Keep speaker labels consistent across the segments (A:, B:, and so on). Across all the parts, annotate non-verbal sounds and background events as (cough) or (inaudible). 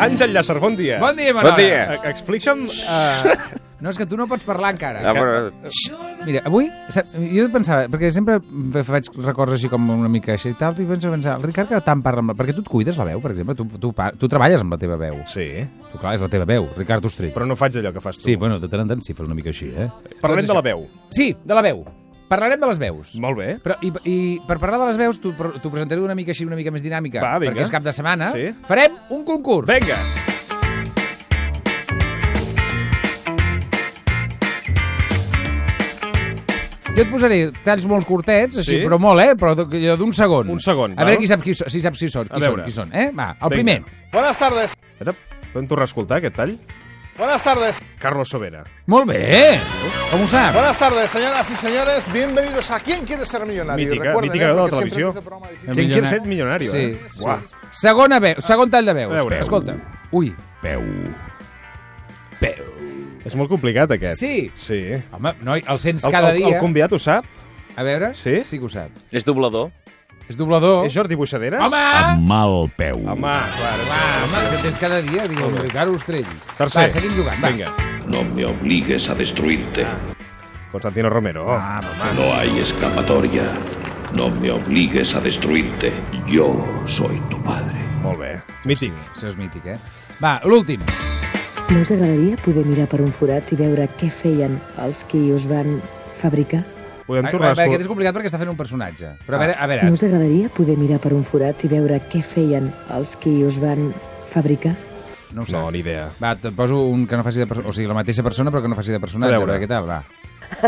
A: Àngel Llàcer, bon dia.
B: Bon dia,
C: Bon
B: Manol.
C: dia.
A: E- Explica'm... Uh,
B: No, és que tu no pots
D: Eh,
B: parlar encara.
A: Ah,
C: No, però...
B: Mira, avui, sa- jo pensava, perquè sempre fa- faig records així com una mica així i tal, i penso, pensar, el Ricard que tant parla amb la... Perquè tu et cuides la veu, per exemple, tu, tu, pa- tu treballes amb la teva veu.
A: sí,
B: Tu, clar, és la teva veu, Ricard Ostrich.
A: però no faig allò que fas tu.
B: Sí, bueno, de tant en tant sí, fas una mica així, eh?
A: Parlem de la veu.
B: Sí, de la veu. Parlarem de les veus.
A: Molt bé.
B: Però, i, I per parlar de les veus, t'ho t'ho presentaré una mica així, una mica més dinàmica,
A: Va, vinga.
B: perquè és cap de setmana.
A: Sí.
B: Farem un concurs.
A: Vinga.
B: Jo et posaré talls molt curtets, així,
A: Sí?
B: però molt, eh? Però allò d'un segon.
A: Un segon,
B: A veure
A: val.
B: qui sap qui, so- si saps qui són.
A: A
B: Qui són,
A: veure.
B: qui són, eh? Va,
A: Vinga.
B: el primer.
E: Buenas tardes.
A: Ara, podem tornar a escoltar aquest tall?
E: Buenas tardes.
A: Carlos Sobera.
B: Molt bé! Com ho sap?
E: Buenas tardes, señoras y señores. Bienvenidos a ¿Quién quiere ser millonario?
A: Mítica-
E: Recuerden,
A: mítica
E: ¿eh?
A: de la
E: Porque siempre
A: televisión.
E: empieza el programa diciendo,
A: Quien quiere
B: Millona-
A: ser millonario,
B: Sí.
A: eh? Uah.
B: Segona veu, segon tall de veus.
A: A veure.
B: Escolta. Ui,
A: Peu. Peu. És molt complicat, aquest.
B: Sí.
A: Sí.
B: home, noi, el sents
A: El,
B: cada
A: el,
B: dia.
A: el convidat ho sap?
B: A veure,
A: Sí?
B: sí que ho sap.
C: És doblador.
B: És doblador.
A: És Jordi Buixaderes?
B: Oh. Home!
F: mal peu.
A: Home, clar,
B: Va,
A: sí.
B: home, que tens cada dia, digue, el Ricard Ostrell.
A: Tercer.
B: Va, seguim jugant, va.
A: Vinga.
G: No me obligues a destruirte.
A: Constantino Romero.
B: Ah, home,
G: No hay escapatoria. No me obligues a destruirte. Yo soy tu padre.
A: Molt bé. Mític.
B: això és mític, eh? Va, l'últim.
H: No us agradaria poder mirar per un forat i veure què feien els qui us van fabricar?
B: A,
A: Podem
B: a, veure,
A: tornar a Ah.
B: aquest és
A: escoltar...
B: complicat perquè està fent un personatge. Però a veure, a veure,
H: No us agradaria poder mirar per un forat i veure què feien els qui us van fabricar?
B: no ho saps.
A: No, ni idea.
B: Va, et poso un que no faci de persona, o sigui, la mateixa persona però que no faci de personatge,
A: A
B: a
A: veure.
B: veure què tal, va.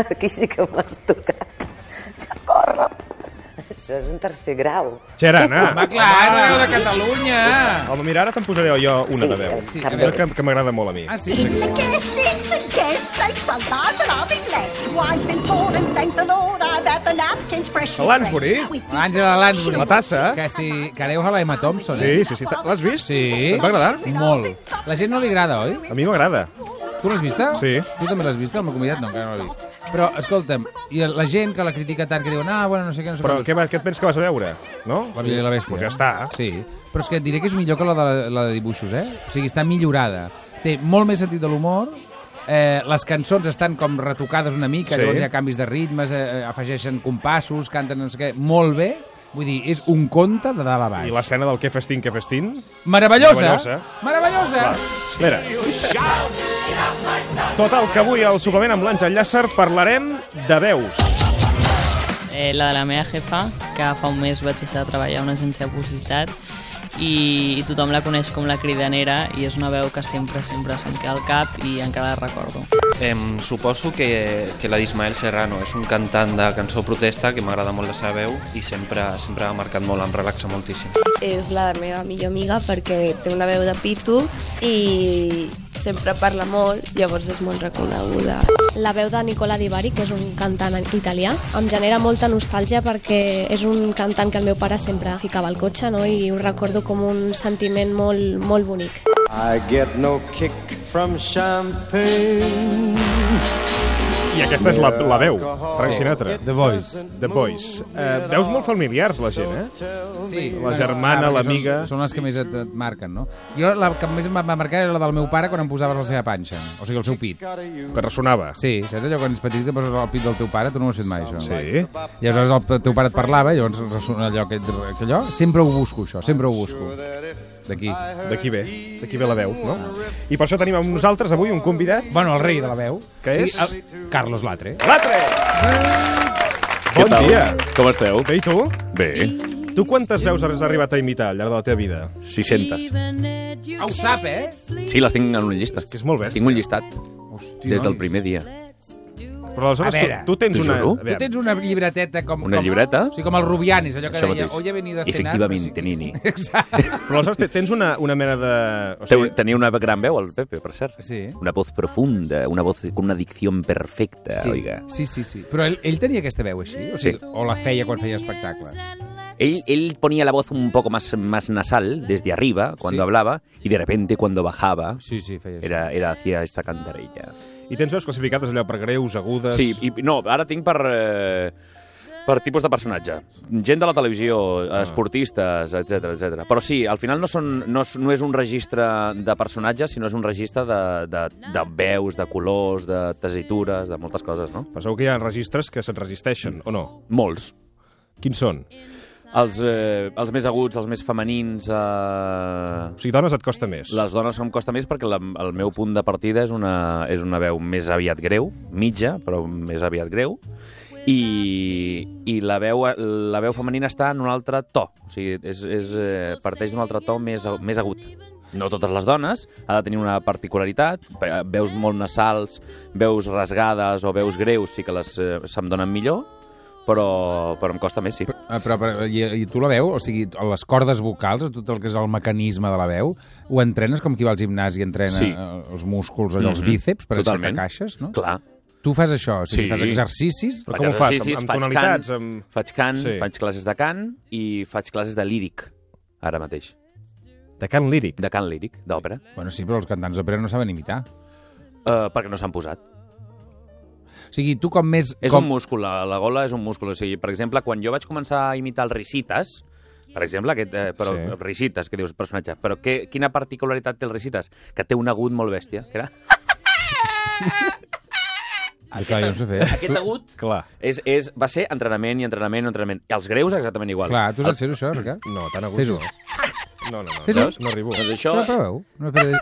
I: Aquí sí que m'has tocat. Ja corre. Això és un tercer grau.
A: Xerana.
B: no de Catalunya!
A: ah. Home, mira, ara te'n posaré jo una
I: Sí,
A: de veu.
I: sí,
A: una
B: també.
A: que, que m'agrada molt a mi.
B: Ah, sí?
J: It's a blessing for guests' sakes, a life that I'll be blessed. Wine's been poured and thank the Lord I've had the napkins freshly
A: Lansbury?
J: pressed. With
B: Àngela Lansbury.
A: La tassa.
B: Que, si, que deu a la Emma Thompson,
A: Sí,
B: eh?
A: sí, sí. te- L'has vist?
B: Sí.
A: Et va agradar?
B: Molt. La gent no li agrada, oi?
A: A mi m'agrada.
B: Tu l'has vista?
A: Sí.
B: Tu també l'has vista? El meu convidat no, encara no l'he vist. Però, escolta'm, i la gent que la critica tant, que diuen, ah, bueno, no sé què, no sé
A: Però
B: dius".
A: què, va- què et penses que vas a veure? No?
B: La Bella i la Bèstia.
A: Doncs ja està.
B: Sí, però és que et diré que és millor que la de, la de dibuixos, eh? O sigui, està millorada. Té molt més sentit de l'humor, eh, les cançons estan com retocades una
A: Sí.
B: mica, sí. llavors hi ha canvis de ritmes, eh, afegeixen compassos, canten no sé què, molt bé. Vull dir, és un conte de dalt a baix.
A: I l'escena del que festín, que festín?
B: Meravellosa!
A: Meravellosa.
B: Meravellosa! Meravellosa.
A: Va, espera. Tot el que avui al suplement amb l'Àngel Llàcer parlarem de veus.
K: eh, la de la meva jefa, que fa un mes vaig deixar de treballar a una agència de publicitat i, i tothom la coneix com la cridanera i és una veu que sempre, sempre se'm queda al cap i encara la recordo.
D: Em, suposo que, que la d'Ismael Serrano és un cantant de cançó protesta que m'agrada molt la seva veu i sempre, sempre ha marcat molt, em relaxa moltíssim.
I: És la meva millor amiga Ah, perquè té una veu de pitu i sempre parla molt, llavors és molt reconeguda.
J: La veu de Nicola Di Bari, que és un cantant italià, em genera molta nostàlgia perquè és un cantant que el meu pare sempre ficava al cotxe no? i ho recordo com un sentiment molt, molt bonic.
E: I get no kick from champagne.
A: I aquesta és la, la veu, Frank Sinatra.
B: The Voice.
A: The Boys. Eh, veus molt familiars, la gent, eh?
B: Sí,
A: La
B: bueno,
A: germana,
B: perquè
A: l'amiga.
B: Són, són les que més et, et marquen, no? Jo la que més em va marcar era la del meu pare quan em posaves la seva panxa, o sigui, el seu pit.
A: Que ressonava.
B: Sí, saps allò quan ets petit que poses el pit del teu pare? Tu no ho has fet mai, això.
A: Sí.
B: I aleshores el teu pare et parlava, llavors ressona allò, que, que allò. Sempre ho busco, això, sempre ho busco. D'aquí.
A: D'aquí ve, d'aquí ve la veu, no? I per això tenim amb nosaltres avui un convidat,
B: Bueno, el rei de la veu.
A: Que és?
B: el Carlos Latre.
A: l'Atre! Bon dia!
C: Com esteu?
A: Bé, i tu?
C: Bé.
A: Tu quantes veus has arribat a imitar al llarg de la teva vida?
C: 600.
B: Ah, ho sap, eh?
C: Sí, les tinc en una llista.
A: És que és molt bèstia.
C: Tinc un llistat
B: Hòstia,
C: des del primer dia.
A: Però aleshores
B: A
A: tu,
B: veure.
A: tu tens
C: T'ho
A: una...
C: juro?
A: a
B: Tu
A: veure,
B: tens una llibreteta com...
C: Una
B: com,
C: llibreta?
B: O sigui, com el Rubianis, allò que
C: Això
B: deia,
C: mateix.
B: hoy he venido a cenar...
C: Efectivament,
B: no sé
C: tenini.
B: què. (laughs) Exacte.
A: Però aleshores te- tens una, una mena de... O
C: Té- Tenia una gran veu, el Pepe, per cert.
B: Sí.
C: Una voz profunda, una voz con una dicción perfecta,
B: Sí,
C: Ah, oiga.
B: sí, sí, sí. Però ell, ell tenia aquesta veu així? O, sigui,
C: Sí.
B: o la feia quan feia espectacles?
C: Él, él ponía la voz un poco más, más nasal desde arriba cuando
B: Sí.
C: hablaba y de repente cuando bajaba
B: Sí, sí, feia això.
C: era, era hacía esta cantarella.
A: I tens veus classificades allò per greus, agudes...
C: Sí, i no, ara tinc per... Eh, Per tipus de personatge. Gent de la televisió, esportistes, etc etc. Però sí, al final no, són, no, és, no és un registre de personatges, sinó és un registre de, de, de veus, de colors, de tesitures, de moltes coses, no?
A: Penseu que hi ha registres que se't resisteixen, o no?
C: Molts.
A: Quins són?
C: Els, eh, els més aguts, els més femenins... Eh... O
A: sigui, dones et costa més.
C: Les dones em costa més perquè la, el meu punt de partida és una, és una veu més aviat greu, mitja, però més aviat greu, i, i la, veu, la veu femenina està en un altre to, o sigui, és, és, eh, parteix d'un altre to més, més agut. No totes les dones, ha de tenir una particularitat, eh, veus molt nasals, veus rasgades o veus greus sí que les eh, se'm donen millor, però, però em costa més, sí.
B: Ah, Però, però i, i tu la veu, o sigui, a les cordes vocals, a tot el que és el mecanisme de la veu, ho entrenes com qui va al gimnàs i entrena
C: Sí.
B: sí. els músculs, allò, mm -hmm. els
C: Mhm.
B: bíceps, per aixecar
C: Totalment.
B: caixes, no?
C: Clar.
B: Tu fas això, o sigui,
C: Sí.
B: fas exercicis...
C: Faig exercicis, faig Cant, Faig cant,
B: Sí.
C: sí. faig classes de cant i faig classes de líric, ara mateix.
A: De cant líric?
C: De cant líric, d'òpera.
B: Bueno, sí, però els cantants d'òpera no saben imitar.
C: Uh, perquè no s'han posat.
B: O sigui, tu com més...
C: És
B: com...
C: un múscul, la, la gola és un múscul. O sigui, per exemple, quan jo vaig començar a imitar els Risitas, per exemple, aquest, eh, però
A: Sí.
C: sí. Risitas, que dius, personatge, però què, quina particularitat té el Risitas? Que té un agut molt bèstia, que era...
B: Ah, clar, jo no sé
C: (laughs)
B: fer.
C: Aquest agut
A: Clar.
C: És, és, va ser entrenament i entrenament i entrenament. I els greus exactament igual.
B: Clar, tu
C: El-
B: saps fer-ho, això, Ricard?
A: No, tan agut
B: Fes-ho.
A: no. No, no, no,
B: Fes-ho.
A: no, no arribo.
C: Doncs això...
B: Però proveu. No, però...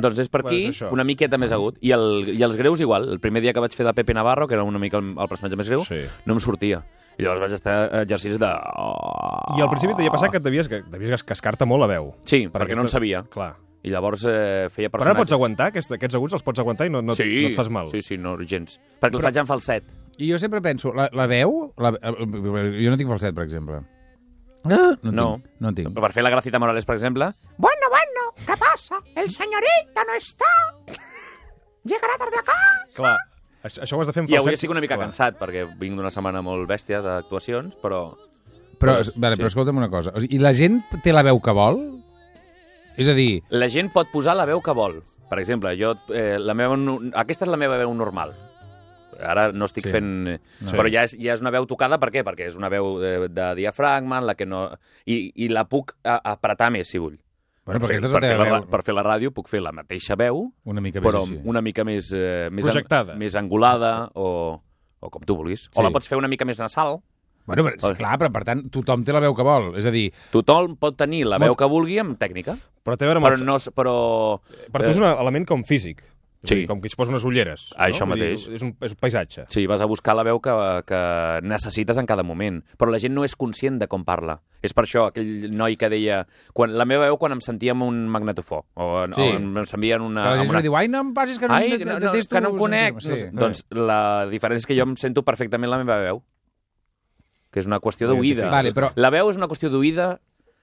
C: Doncs és per
A: Bueno,
C: aquí,
A: és això.
C: una miqueta més agut. I, el, I els greus igual. El primer dia que vaig fer de Pepe Navarro, que era una mica el, el personatge més greu,
A: Sí.
C: no em sortia. I llavors vaig estar a exercicis de... Oh.
A: I al principi t'havia passat que et devies, que devies cascar-te molt la veu.
C: Sí, per perquè no en sabia.
A: Clar.
C: I llavors eh, feia
A: Però ara pots
C: personatges...
A: aguantar, aquests, aquests aguts els pots aguantar i no, no,
C: sí,
A: no et fas mal.
C: Sí, sí, no, gens. Perquè Però... el faig en falset.
B: I jo sempre penso, la, la veu... La, jo no tinc falset, per exemple. No,
C: Ah, No.
B: Tinc, no en tinc.
C: Però per fer la Gracita Morales, per exemple...
F: Bueno, bueno, ¿qué pasa? El señorito no está. Llegará tarde acá.
A: Clar, això, això ho has de fer en
C: I
A: falset.
C: avui estic una mica
A: Clar.
C: cansat, perquè vinc d'una setmana molt bèstia d'actuacions, però...
B: Però, vale,
C: Sí.
B: però escolta'm una cosa. O sigui, I la gent té la veu que vol? És a dir,
C: La gent pot posar la veu que vol. Per exemple, jo, eh, la meva, nu- aquesta és la meva veu normal. Ara no estic
B: Sí.
C: sí. fent...
B: No.
C: No. Però ja és, ja és una veu tocada, per què? Perquè és una veu de, de diafragma, en la que no... I, i la puc a, apretar més, si vull.
B: Bueno,
C: per,
B: perquè aquesta és
C: fer,
B: la
C: per, fer
B: teva
C: la, ra-
B: veu.
C: per fer la ràdio puc fer la mateixa veu,
B: Una mica més
C: però
B: així.
C: una mica més... Eh, més
A: Projectada.
C: An, més angulada o, o com tu vulguis. Sí.
B: Sí.
C: O la pots fer una mica més nasal.
B: bueno, però, esclar, però per tant, tothom té la veu que vol. És a dir,
C: Tothom pot tenir la
B: Molt-
C: veu que vulgui amb tècnica,
A: Però té a veure amb
C: però
A: el-
C: no... és- Però,
A: Per tu és un element com físic. És a dir,
C: Eh. Sí.
A: Com que es posa unes ulleres.
C: Això
A: Vull
C: mateix.
A: Dir, és, un, és un paisatge.
C: Sí, vas a buscar la veu que, que necessites en cada moment. Però la gent no és conscient de com parla. És per això aquell noi que deia... Quan, la meva veu quan em sentia amb un magnetofó. O, en-
B: Sí.
C: o em sentia en una...
B: que la
C: amb
B: gent
C: una...
B: una... diu, ai, no em passis que no,
C: Ah, Ai,
B: de-
C: no,
B: de-
C: no,
B: detesto
C: que no em conec.
B: sentir-me".
C: No sé. Doncs la diferència és que jo em sento perfectament la meva veu. Que és una qüestió d'oïda.
B: Vale, però-
C: La veu és una qüestió d'oïda,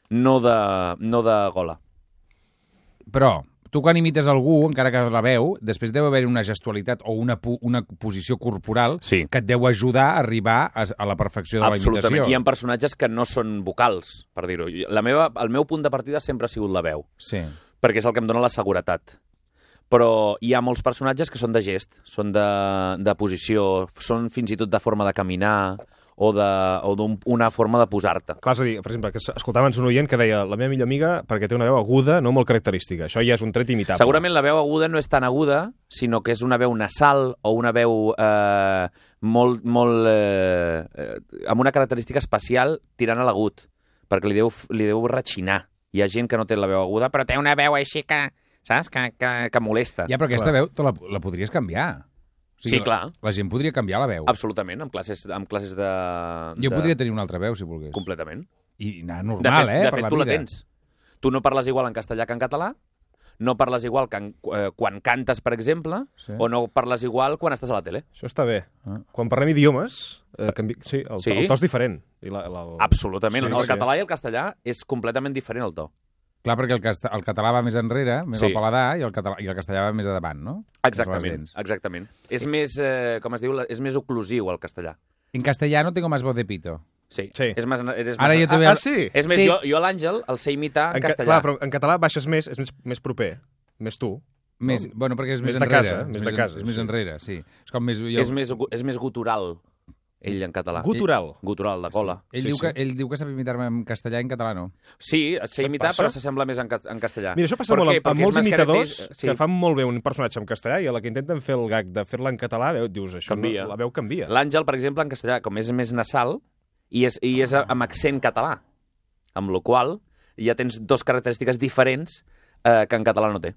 C: no, de, no de gola.
B: Però tu quan imites algú, encara que la veu, després deu haver una gestualitat o una, po- una posició corporal
C: Sí.
B: que et deu ajudar a arribar a, a la perfecció de la
C: Absolutament.
B: imitació.
C: Hi ha personatges que no són vocals, per dir-ho. La meva, el meu punt de partida sempre ha sigut la veu.
B: Sí.
C: perquè és el que em dóna la seguretat. Però hi ha molts personatges que són de gest, són de, de posició, són fins i tot de forma de caminar o d'una o d'un- una forma de posar-te.
A: Clar, és a dir, per exemple, que s- escoltava abans un oient que deia la meva millor amiga perquè té una veu aguda, no molt característica. Això ja és un tret imitable.
C: Segurament la veu aguda no és tan aguda, sinó que és una veu nasal o una veu eh, molt, molt eh, eh, amb una característica especial tirant a l'agut, perquè li deu, li deu ratxinar. Hi ha gent que no té la veu aguda, però té una veu així que, saps, que, que, que molesta.
B: Ja, però aquesta veu te la, la podries canviar.
C: Sí, clar.
B: La, la gent podria canviar la veu.
C: Absolutament, amb classes, amb classes de...
B: Jo
C: de...
B: podria tenir una altra veu, si volgués.
C: Completament.
B: I anar normal,
C: de
B: eh?
C: fet, de
B: per
C: fet
B: la
C: tu la
B: vida.
C: tens. Tu no parles igual en castellà que en català, no parles igual que en, eh, quan cantes, per exemple,
B: Sí.
C: sí. o no parles igual quan estàs a la tele.
A: Això està bé.
B: Ah.
A: Quan parlem idiomes, eh, canvi... sí, el,
C: Sí.
A: sí? el to és diferent. I la, la,
B: Oh.
A: el...
C: Absolutament.
A: Sí,
C: Sí, el
A: sí.
C: català i el castellà és completament diferent el to.
B: Clar, perquè el, casta- el català va més enrere, més
C: Sí.
B: al paladar, i el, català, i el castellà va més a davant, no?
C: Exactament,
B: Més a les dents.
C: exactament. És més, eh, com es diu, la- és més oclusiu el castellà.
B: En castellano tengo más voz de pito.
C: Sí.
A: Sí.
C: És més, és més,
B: Ara jo te veo-
A: Ah, sí?
C: És més,
B: Sí.
C: jo, jo a l'Àngel el sé imitar en,
A: ca-
C: castellà.
A: Clar, però en català baixes més, és més, més proper. Més tu.
B: Més, bueno, perquè és més,
A: Més de
B: enrere.
A: casa, més de
B: en-
A: casa,
B: És més
A: sí.
B: enrere, sí. És com més... Jo,
C: És, més, gu- és més gutural. Ell en català.
A: Gutural.
C: Ell- Gutural, de cola.
B: Ell,
C: Sí,
B: diu
C: sí.
B: Que, ell diu que sap imitar-me en castellà i en català, no?
C: Sí, sé imitar,
A: passa?
C: però s'assembla més en, ca- en castellà.
A: Mira, això passa
C: Per
A: molt
C: què?
A: amb, amb
C: Perquè és
A: molts
C: més
A: imitadors
C: característic-
A: que fan molt bé un personatge en castellà i a la que intenten fer el gag de fer-la en català, veu, dius, això
C: Canvia.
A: No, la veu canvia.
C: L'Àngel, per exemple, en castellà, com és més nasal, i és, i és amb accent català, amb la qual cosa ja tens dos característiques diferents eh, que en català no té.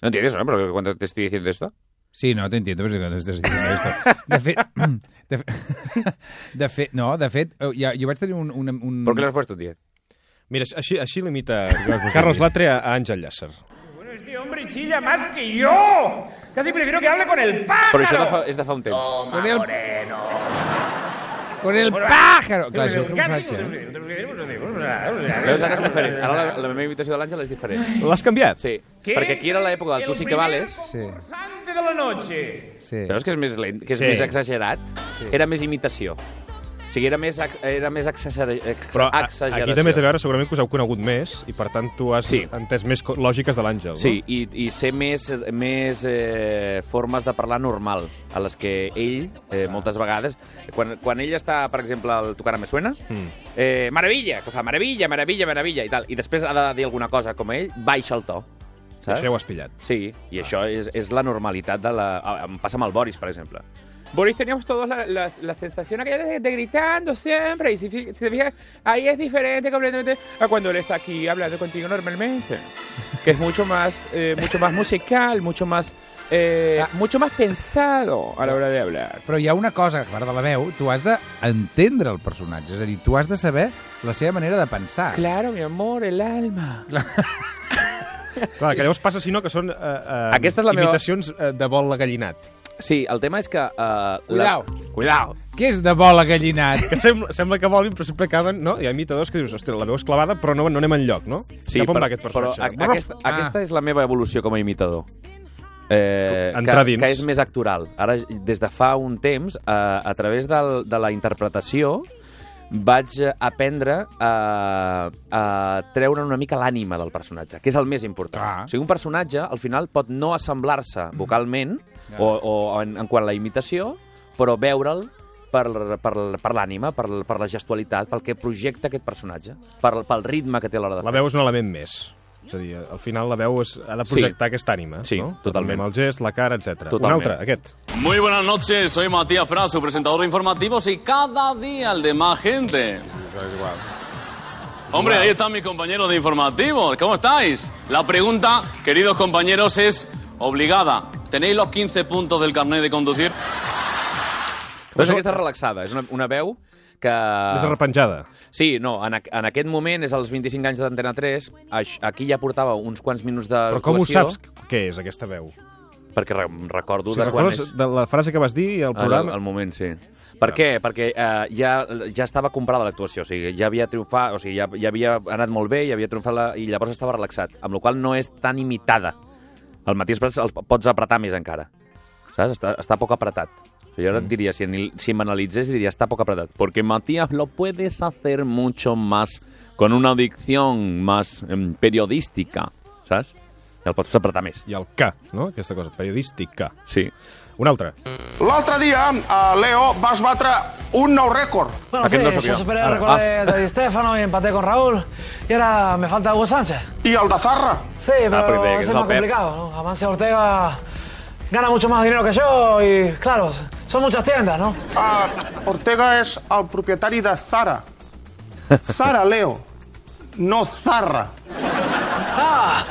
C: No entiendes, ¿no? Pero cuando te estoy diciendo esto.
B: Sí, no, t'entiendo, però és que no estàs dient esto. De fet, (clears throat) de, fe, de fet, no, de fet, eh, ja, jo vaig tenir un... un, un...
A: ¿Por qué le has
C: puesto 10?
A: Mira, així, així limita
B: Jo vaig buscar
A: Carlos
B: aquí.
A: Latre a, a Àngel Llàcer.
L: Este hombre chilla más que yo. Casi prefiero que hable con el pájaro.
C: Però això de fa, és de fa un temps.
L: Con el moreno.
B: Con el pájaro.
C: Clar, això és un Veus, ara és diferent. Ara la,
L: Ahora
C: la meva invitació de l'Àngel és diferent.
A: L'has canviat?
C: Sí,
L: ¿Qué?
C: perquè aquí era l'època del
L: El
C: tu sí que
L: primer
C: vales. Sí.
L: Antes de la noche.
B: Sí.
C: Veus que és més lent, que és
A: Sí.
C: més exagerat?
A: Sí.
C: Era més imitació. O sigui, era més, ex- era més exagera- ex-
A: Però a,
C: exageració.
A: aquí també té a veure segurament que us heu conegut més i per tant tu has sí. entès més co- lògiques de l'Àngel.
C: Sí, i, i ser més, més eh, formes de parlar normal, a les que ell,
A: Ah.
C: eh, moltes vegades, quan, quan ell està, per exemple, al Tocar a Me Suena,
A: Mm.
C: eh, meravella, que fa meravella, meravella, meravella, i tal, i després ha de dir alguna cosa com ell, baixa el to. Saps?
A: Això ja ho has pillat.
C: Sí,
L: Ah.
C: i això és, és la normalitat de la... ah, Em passa amb el Boris, per exemple.
L: Boris, teníamos todos la, la, la sensación aquella de, de gritando siempre. Y si, fi- si te fijas, ahí es diferente completamente a cuando él está aquí hablando contigo
C: (laughs)
L: normalmente. Que es mucho más, eh, mucho más musical, mucho más, eh,
C: Ah.
L: mucho más pensado a la hora de hablar.
B: Però hi ha una cosa, a part de la veu, tu has d'entendre el personatge, és a dir, tu has de saber la seva manera de pensar.
L: Claro, mi amor, el alma.
A: Clar, que llavors passa, si no, que són eh, eh,
C: Aquesta és la meva-
A: imitacions meva... de vol gallinat.
C: Sí, el tema és que... Eh,
A: Cuidao.
C: La... Cuidao.
B: Què és de bola gallinat?
A: Que sembla, sembla que volin, però sempre acaben... No? Hi ha imitadors que dius, ostres, la veu és clavada, però no, no anem enlloc, no? Cap on va aquest
C: però
A: personatge?
C: a, aquesta, ah. aquesta és la meva evolució com a imitador. Eh,
A: Entrar
C: que,
A: dins.
C: que és més actoral. Ara, des de fa un temps, eh, a través del, de la interpretació, vaig eh, aprendre a, a treure una mica l'ànima del personatge, que és el més important. Ah. O sigui, un personatge, al final, pot no assemblar-se
A: Mm-hmm.
C: vocalment o, o en, en quant a la imitació, però veure'l per, per, per l'ànima, per, per la gestualitat, pel que projecta aquest personatge, pel, pel ritme que té a l'hora de
A: La veu és un element més. És a dir, al final la veu és, ha de projectar sí. aquesta ànima.
C: Sí,
A: no?
C: totalment.
A: El gest, la cara, etc. Un
C: Totalment.
A: altre, aquest.
M: Muy buenas noches, soy Matías Fra, su presentador de informativos y cada día el de más gente. Hombre, ahí están mis compañeros de informativos. ¿Cómo estáis? La pregunta, queridos compañeros, es obligada. ¿Tenéis los 15 puntos del carnet de conducir?
C: Però és aquesta relaxada, és una, una veu que...
A: Més arrepenjada.
C: Sí, no, en, aqu- en aquest moment és als 25 anys d'Antena 3, aix- aquí ja portava uns quants minuts de
A: Però com ho
C: actuació,
A: saps què és aquesta veu?
C: Perquè re recordo
A: Si
C: de quan
A: recordes
C: és... Ah,
A: de la frase que vas dir i el programa...
C: El, el moment, sí. Per què? Perquè eh, ja, ja estava comprada l'actuació, o sigui, ja havia triomfat, o sigui, ja, ja havia anat molt bé, ja havia triomfat la, i llavors estava relaxat, amb la qual cosa no és tan imitada. El Matías Prats el pots apretar més encara, saps? Està, està poc apretat. Jo ara et diria, si, anil- si m'analitzés, diria, està poc apretat. Porque Matías lo puedes hacer mucho más con una adicción más em, periodística, saps? El pots apretar més.
A: I el K, no? Aquesta cosa, periodística.
C: Sí.
A: Un altre.
N: L'altre dia, a Leo, vas batre un nou rècord.
O: Bueno, sí, yo superé el récord
C: Ah.
O: de, de Di Stefano y empaté con Raúl. Y ahora me falta Hugo Sánchez.
N: ¿Y Aldazarra?
O: Sí, pero
N: Ah, porque te- que
O: ese es
N: es la
O: más
N: Pep.
O: complicado. ¿no? Amancio Ortega gana mucho más dinero que yo y, claro, son muchas tiendas, ¿no?
N: Ah, Ortega és el propietari de Zara. Zara, Leo. No Zarra.
O: Ah,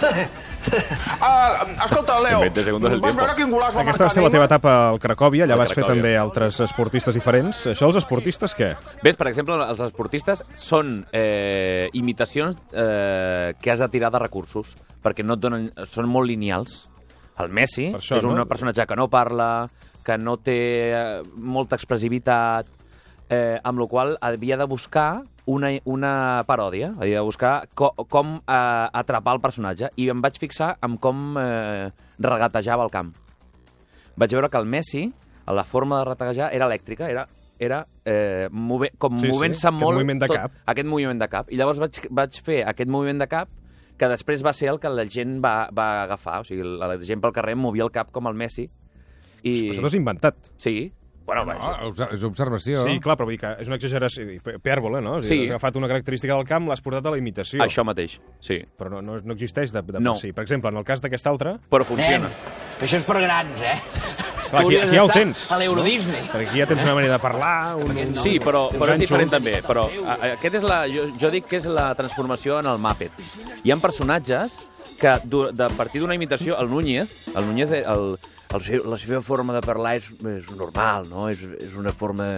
N: Ah, escolta, Leo,
A: En 20 segundos el
N: vas
A: tiempo.
N: veure quin golaç va
A: Aquesta va ser
N: marcar
A: la teva
N: Neymar?
A: etapa al Cracòvia, allà
C: Al
A: vas fer
C: Cracòvia.
A: també altres esportistes diferents. Això, els esportistes, què?
C: Ves, per exemple, els esportistes són eh, imitacions eh, que has de tirar de recursos, perquè no et donen, són molt lineals. El Messi
A: això,
C: això, és un
A: no?
C: personatge que no parla, que no té eh, molta expressivitat, eh, amb la qual cosa havia de buscar una, una paròdia, havia de buscar co com eh, atrapar el personatge, i em vaig fixar en com eh, regatejava el camp vaig veure que el Messi, a la forma de retejar, era elèctrica, era era eh, move, com
A: Sí, sí,
C: movent-se
A: aquest
C: molt...
A: moviment de cap.
C: Aquest moviment de cap. I llavors vaig, vaig fer aquest moviment de cap que després va ser el que la gent va, va agafar. O sigui, la, la gent pel carrer movia el cap com el Messi. I...
A: Això t'ho has inventat.
C: Sí, Bueno,
A: no,
C: va,
A: és,
B: és observació.
A: Sí, clar, però vull dir que és una exageració, hipèrbole, no? És a dir,
C: Sí.
A: Has agafat una característica del camp, l'has portat a la imitació.
C: Això mateix, sí.
A: Però no, no, no existeix de, de
C: No.
A: per si. Per exemple, en el cas d'aquesta altra...
C: Però funciona.
P: Això és per grans, eh?
A: Clar, aquí, aquí ja ho tens.
P: A l'Euro
A: no?
P: Disney.
A: Perquè aquí ja tens una manera de parlar... Un...
C: Sí, però,
A: uns
C: però és
A: ganxos.
C: diferent també. Però a- a- aquest és la, jo, jo dic que és la transformació en el Muppet. Hi ha personatges que du- de, a partir d'una imitació, el Núñez, el Núñez eh, el, el, seu- la seva forma de parlar és, és normal, no? És, és una forma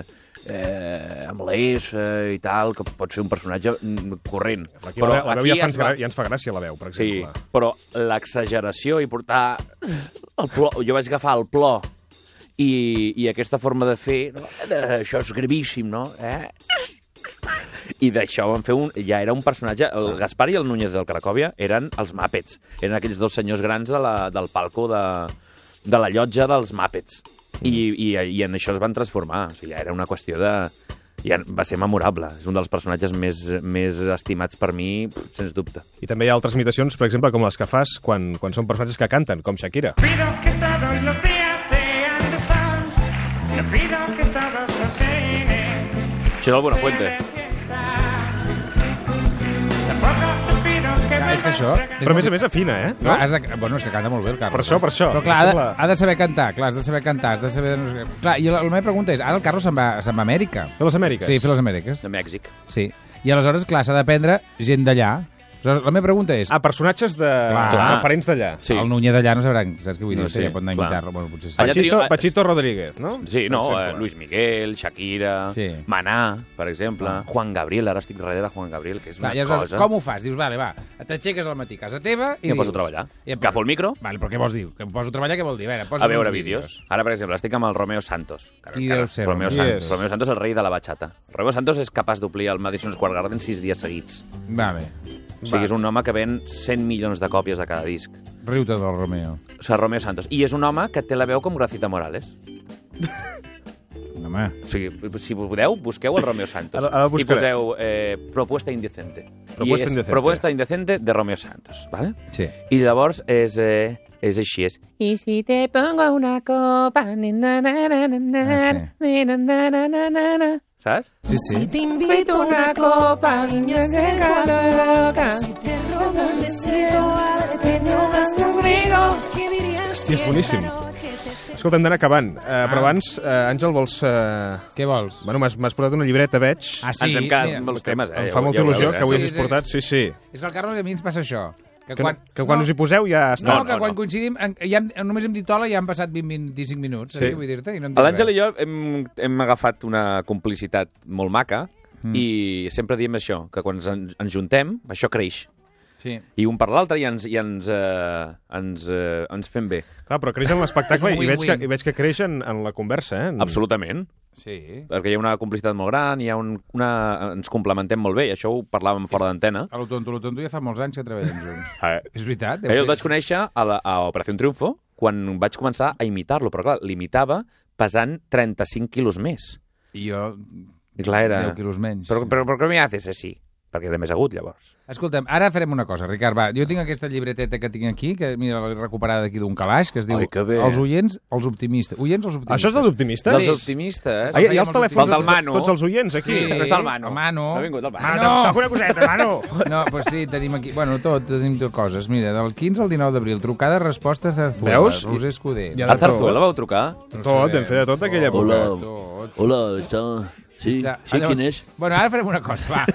C: eh, amb la S i tal, que pot ser un personatge mm, corrent.
A: Aquí la, veu- la veu ja, fa,
C: es
A: ens
C: va-
A: gra- ja ens fa gràcia, la veu, per
C: Sí,
A: exemple.
C: però l'exageració i portar... El plor, jo vaig agafar el plor i, i aquesta forma de fer... No? Eh, Això és gravíssim, no? Eh? I d'això van fer un... Ja era un personatge... El
A: Ah.
C: Gaspar i el Núñez del Cracòvia eren els Muppets. Eren aquells dos senyors grans de la, del palco de, de la llotja dels Muppets. I,
A: Mm.
C: i, I en això es van transformar. O sigui, ja era una qüestió de... Ja va ser memorable. És un dels personatges més, més estimats per mi, pf, sens dubte.
A: I també hi ha altres imitacions, per exemple, com les que fas quan, quan són personatges que canten, com Shakira.
Q: (laughs) Pido que todos los días sean de sol. Te pido que todos los fines
C: Això és el Buenafuente.
Q: Tampoco te pido que
B: Clar,
Q: me
B: és que això...
Q: des-
A: Però a més a més afina, eh?
B: No?
A: No?
B: Has de, bueno, és que canta molt bé el Carlos.
A: Per això, per això.
B: Ah. Però clar, ah. ha
A: Aquesta
B: de,
A: és la-
B: ha de saber cantar, clar, has de saber cantar, has de saber... No sé, què. clar, i la, la meva pregunta és, ara el Carlos se'n va, se'n va a Amèrica.
A: Fer les Amèriques.
B: Sí, fer les Amèriques.
C: De Mèxic.
B: Sí. I aleshores, clar, s'ha d'aprendre gent d'allà. Aleshores, la meva pregunta és...
A: Ah, personatges de...
B: Clar.
A: referents d'allà.
B: Sí. El Núñez d'allà no sabrà, saps què vull dir?
C: No
B: No
C: sé,
B: sé, ja pot anar a
C: clar.
B: imitar-lo, bueno, potser sí.
C: Allà
A: Pachito,
C: teniu-
A: Pachito Rodríguez, no?
C: Sí, no,
A: Per
C: eh,
A: exemple.
C: Luis Miguel, Shakira, sí. Manà, per exemple, ah. Juan Gabriel, ara estic darrere de Juan Gabriel, que és una
B: Clar, I aleshores, Ah,
C: cosa...
B: com ho fas? Dius, vale, va, t'aixeques al matí a casa teva i
C: I em
B: dius...
C: poso a treballar. Cap al micro.
B: Vale, però què vols dir? Que em poso a treballar, què vol dir? A veure, poses
C: A veure
B: uns
C: vídeos. Ara, per exemple, estic amb el Romeo Santos. Cara,
B: Qui
C: cara,
B: deu ser, Romeo?
C: Romeo,
B: Qui
C: Santos,
B: és?
C: Romeo Santos, el rei de la bachata. Romeo Santos és capaç d'omplir el Madison Square Garden sis dies seguits.
B: Vale.
C: O sigui, és un home que ven 100 milions de còpies de cada disc.
B: Riu-te del Romeo.
C: O sigui, Romeo Santos. I és un home que té la veu com Gracita Morales.
B: Home.
C: O sigui, si podeu, busqueu el Romeo Santos.
A: Ara- ara
C: I
A: buscaré.
C: poseu eh, Propuesta Indecente.
A: Propuesta
C: I és
A: Indecente.
C: Propuesta Indecente de Romeo Santos, vale?
B: Sí.
C: I llavors és, eh, és així, és...
R: Y si te pongo una copa, ni na na na na
B: Ah,
R: na, ni na na na na na na.
C: Saps?
B: Sí, sí.
R: Te invito una copa y me acerco loca. Si te robo un besito, padre, te enojas conmigo. ¿Qué dirías?
A: Hòstia, és boníssim. Escolta, hem d'anar acabant. Uh,
B: Ah.
A: però abans, uh, Àngel, vols... Uh...
B: Què vols?
A: Bueno, m'has m'has portat una llibreta, veig.
B: Ah, sí? Ens hem quedat Mira. amb els
C: temes, eh?
A: Em fa
C: Ja-
A: molta
C: ja ho
A: il·lusió
C: veuràs,
A: que avui
C: eh?
A: us he portat, sí, sí.
B: És que al Carlos i a mi ens passa això.
A: Que no- que quan us hi poseu ja està.
B: No,
A: No,
B: que
A: no,
B: quan
A: no.
B: coincidim... En, ja, hem- només hem dit hola i ja han passat 20, 25 minuts. Sí. Saps què vull dir-te? I no em dic
C: L'Àngel
B: res.
C: i jo hem, hem agafat una complicitat molt maca mm. i sempre diem això, que quan ens, en- ens juntem, això creix.
B: Sí.
C: I un per l'altre i ens, i ens, eh, ens, eh, ens fem bé.
A: Clar, però creix en l'espectacle
C: És un
A: i, veig que,
C: win-win.
A: i veig que creix en, en la conversa, eh? En...
C: Absolutament.
B: Sí.
C: Perquè hi ha una complicitat molt gran, hi ha un, una... ens complementem molt bé, i això ho parlàvem fora d'antena.
B: A lo tonto, lo tonto ja fa molts anys que treballem
C: (laughs)
B: junts.
C: Eh,
B: És veritat.
C: jo el vaig conèixer a, la, a Operació Triunfo quan vaig començar a imitar-lo, però clar, l'imitava pesant 35 quilos més.
B: I jo...
C: I clar, era...
B: 10 quilos menys.
C: Però, però, però què m'hi haces així? Perquè era més agut, llavors.
B: Escolta'm, ara farem una cosa, Ricard, va. Jo tinc aquesta llibreteta que tinc aquí, que mira, l'he recuperada d'aquí d'un calaix, que es diu
C: Ai, que bé.
B: Els oients, els optimistes. Oients, els optimistes.
A: Això és dels optimistes?
C: Dels optimistes.
B: eh?
A: Ah, hi ha- hi ha els telèfons
C: Falta el
A: de tots-
C: Manu.
A: tots els oients, aquí.
B: Sí.
A: No
C: està el Manu.
B: El Ah, Mano.
C: No ha vingut el Manu.
B: Mano,
C: No.
B: toca una coseta, Mano. No, doncs pues sí, tenim aquí... Bueno, tot, tenim tot coses. Mira, del 15 al 19 d'abril, trucada, eh, resposta, Zarzuela,
A: Veus?
B: Roser Escudé.
A: Hi ha de tot. Zarzuela
C: vau trucar?
A: Tot, vam fer de tot aquella època.
S: Hola, hola, està... Sí,
B: Ja,
S: sí,
B: llavors-
S: quin és?
B: Bueno, ara farem una cosa, va.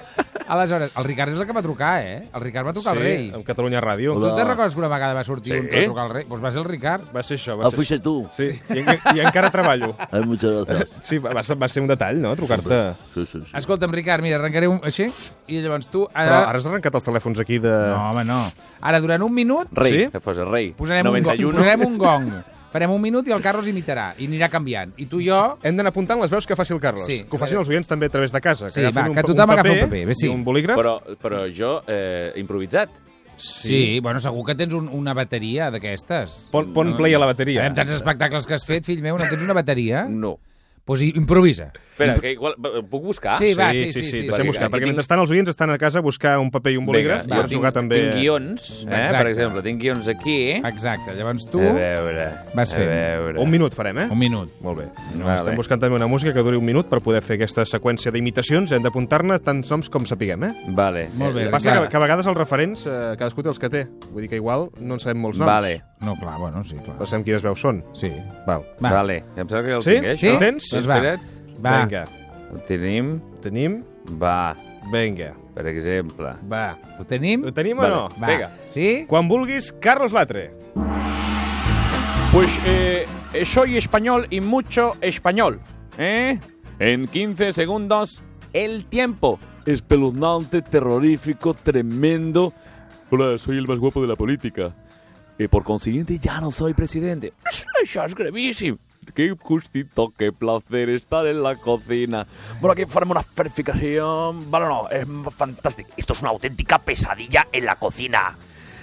B: Aleshores, el Ricard és el que va trucar, eh? El Ricard va trucar
A: sí,
B: al rei.
A: amb Catalunya Ràdio.
B: Tu te'n recordes que una vegada va sortir
A: Sí.
B: un que va trucar al rei? Doncs va ser el Ricard.
A: Va ser això.
S: Ah,
A: Va ser
S: fuiste
A: això.
S: tu.
A: Sí, i, en- i encara treballo.
S: Ai, muchas gracias.
A: Sí, va, va ser, va ser un detall, no?, trucar-te.
S: Sí, sí, sí.
B: Escolta'm, Ricard, mira, arrencaré un... així i llavors tu...
A: Però
B: Ara,
A: ara has arrencat els telèfons aquí de... No,
B: home, no. ara durant un minut...
C: Rei,
B: Sí?
C: que posa rei.
B: Posarem, un gong,
C: 91.
B: posarem un gong. Farem un minut i el Carlos imitarà. I anirà canviant. I tu i jo...
A: Hem d'anar apuntant les veus que faci el Carlos.
B: Sí.
A: Que ho facin els oients també a través de casa.
B: Sí,
A: agafin
B: va,
A: un,
B: que
A: pa-
B: tothom
A: un
B: agafa
A: paper,
B: un paper, bé, sí.
A: I un bolígraf.
C: Però, però jo, eh, improvisat.
B: Sí, bueno, segur que tens un, una bateria d'aquestes.
A: Pon- pon play a la bateria.
B: Amb tants espectacles que has fet, fill meu, no tens una bateria?
C: No.
B: pues improvisa.
C: Espera, que igual... Puc buscar?
B: Sí, va, sí,
A: sí,
B: sí, sí,
A: deixem
B: sí.
A: buscar,
B: Aquí
A: perquè
B: tinc-
A: mentrestant els oients estan a casa a buscar un paper i un bolígraf i
C: va,
A: a jugar
C: tinc,
A: també...
C: Tinc guions, eh?
A: Exacte.
C: per exemple. Tinc guions aquí.
B: Exacte, llavors tu...
A: Eh,
C: A veure...
B: Vas
C: A
B: fent.
C: veure...
A: Un minut farem, eh?
B: Un minut.
A: Molt bé.
C: Vale.
A: Estem buscant també una música que duri un minut per poder fer aquesta seqüència d'imitacions. Hem d'apuntar-ne tants noms com sapiguem, eh?
C: Vale.
B: Molt
A: El
B: bé,
A: que passa que,
B: Ricard.
A: que a vegades els referents, eh, cadascú té els que té. Vull dir que igual no en sabem molts noms.
C: Vale.
B: No, clar, bueno, sí, clar.
A: No sabem quines veus són.
B: Sí.
A: Val.
B: Va.
C: Vale. Em sembla que el
A: Sí?
C: tinc, eh,
A: Sí?
C: això.
A: El tens?
C: Doncs
A: va.
C: Espera't.
A: Va. Vinga.
C: El tenim.
A: Tenim.
C: Va.
A: Vinga.
C: Per exemple.
B: Va. Ho tenim?
A: Ho tenim o
C: Vale.
A: no?
C: Va. Vinga.
B: Sí?
A: Quan vulguis, Carlos Latre.
T: Pues eh, eh, soy español y mucho español. ¿eh? En 15 segundos, el tiempo. Espeluznante, terrorífico, tremendo. Hola, soy el más guapo de la política. Y por consiguiente ya no soy (laughs) presidente. Això és gravíssim. Qué gustito, qué placer estar en la cocina. Bueno, aquí faremos una verificación. Vale, no, es fantástico. Esto es una auténtica pesadilla en la cocina.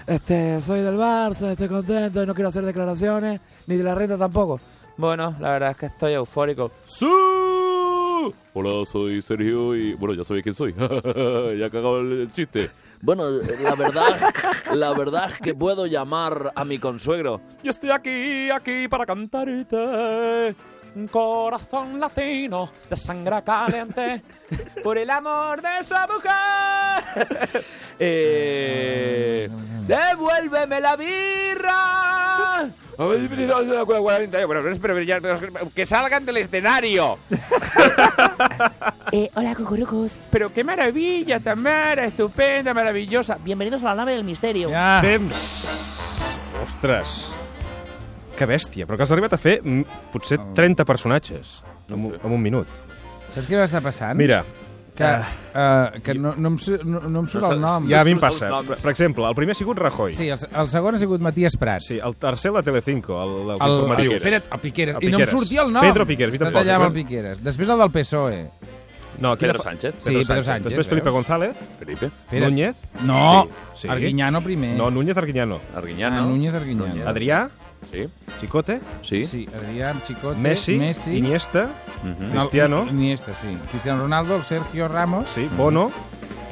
O: Este, soy del Barça, estoy contento y no quiero hacer declaraciones, ni de la renta tampoco. Bueno, la verdad es que estoy eufórico.
T: ¡Su! Hola, soy Sergio y... Bueno, ya sabéis quién soy. ya cagado el, el chiste.
P: Bueno, la verdad, la verdad es que puedo llamar a mi consuegro.
T: Yo estoy aquí, aquí para cantarte.
O: Un corazón latino de sangre caliente, por el amor de esa mujer.
T: Eh...
O: ¡Devuélveme la birra!
L: Bueno, pero ya, que salgan del escenario.
O: Eh, hola, cucurucos.
L: Pero qué maravilla, Tamara, estupenda, maravillosa.
O: Bienvenidos a la nave del misterio.
A: Ah. Temps. Ostres. Que bèstia. Però que has arribat a fer mm, potser 30 personatges en, un- en un minut.
B: Saps què m'està passant?
A: Mira.
B: Que, uh, que no, no, em, su- no, no em surt el nom.
A: Ja a mi em passa. Per per exemple, el primer ha sigut Rajoy.
B: Sí, el, el segon ha sigut Matías Prats.
A: Sí, el tercer la Telecinco, el, els
B: El-
A: informatius.
B: Espera't, el Piqueres. I no em sortia el nom.
A: Pedro Piqueres,
B: Està
A: tampoc.
B: allà amb el Piqueres. Després el del PSOE.
A: No, aquí la
B: Pedro
A: fa-
B: Sánchez. Sí, Pedro Sánchez,
A: Després Felipe
B: veus?
A: González.
C: Felipe.
B: Espera.
A: Núñez.
B: No, Arguiñano primer.
A: No, Núñez Arguiñano.
C: Arguiñano.
B: Ah, Núñez Arguiñano. Núñez.
A: Adrià.
C: Sí.
A: Chicote.
C: Sí.
B: Sí, Adrià, Chicote,
A: Messi,
B: Messi
A: Iniesta,
B: No,
A: Cristiano.
B: Iniesta, sí. Cristiano Ronaldo, el Sergio Ramos.
A: Sí, Bono.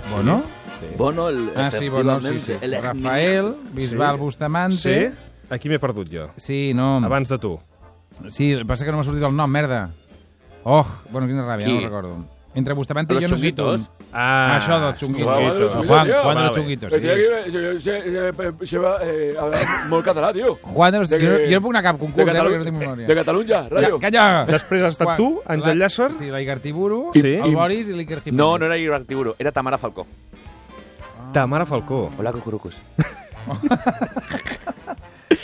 B: Bono?
A: Sí.
P: Bono, el,
B: Ah, sí, Bono, sí, sí.
P: el ex
B: Rafael, Bisbal
A: Sí.
B: Bustamante.
A: Sí. Aquí m'he perdut jo.
B: Sí, no.
A: Abans de tu.
B: Sí, el que passa que no m'ha sortit el nom, merda. Oh, bueno, quina ràbia,
A: Qui?
B: no el recordo. Entre Bustamante
A: Los
B: i jo no sé
A: chunguitos.
B: on.
A: Ah,
B: Això dels
A: chunguitos.
B: xunguitos.
A: Chunguitos.
B: Juan, Juan
A: Vale.
B: de los xunguitos,
U: Però
B: sí.
U: sí. que se, se, se, se va eh, hablar molt català, tio.
B: Juan de los...
U: De que-
B: Jo, no- jo no puc anar a cap concurs,
U: de
B: eh,
U: Catalu-
B: perquè no tinc memòria.
U: de Catalunya, ràdio.
B: Ja, calla!
A: Després has estat
B: Juan-
A: tu, Àngel
B: la-
A: Llàcer.
B: Sí, la Igartiburu,
A: Sí.
B: el Boris i l'Iker Jiménez.
C: No, no era Ibertiburo, era Tamara Falcó.
A: Tamara Falcó.
C: Hola, cucurucos.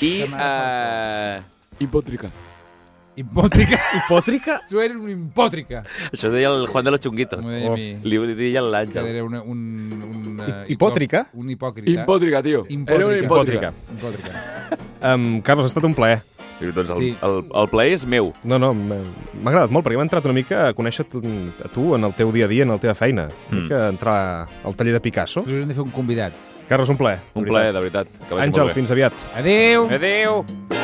C: I... Eh...
U: Hipòtrica.
B: Hipòtrica. (laughs)
A: Hipòtrica?
B: Tu eres un hipòtrica.
U: Oh,
C: Això ho eh, deia el Juan de los Chunguitos.
B: M'ho deia a mi.
C: Li ho deia
B: Que
C: l'Àngel.
B: era una, un, un, eh,
A: hipòtrica?
B: hipo- Un hipòcrita.
U: Hipòtrica, tio. Era una
A: hipòtrica.
B: Hipòtrica.
A: Um, Carlos, ha estat un plaer.
C: Doncs el, sí. el, el plaer és meu.
A: No, no, m'ha m'ha agradat molt, perquè m'ha entrat una mica a conèixer tu- a tu en el teu dia a dia, en la teva feina. Una
C: Mm.
A: mica entrar al taller de Picasso.
B: Hauríem de fer un convidat.
A: Carlos, un plaer.
C: Un plaer, de veritat. Que vagi molt
A: Àngel,
C: bé.
A: fins aviat.
B: Adéu.
C: Adéu.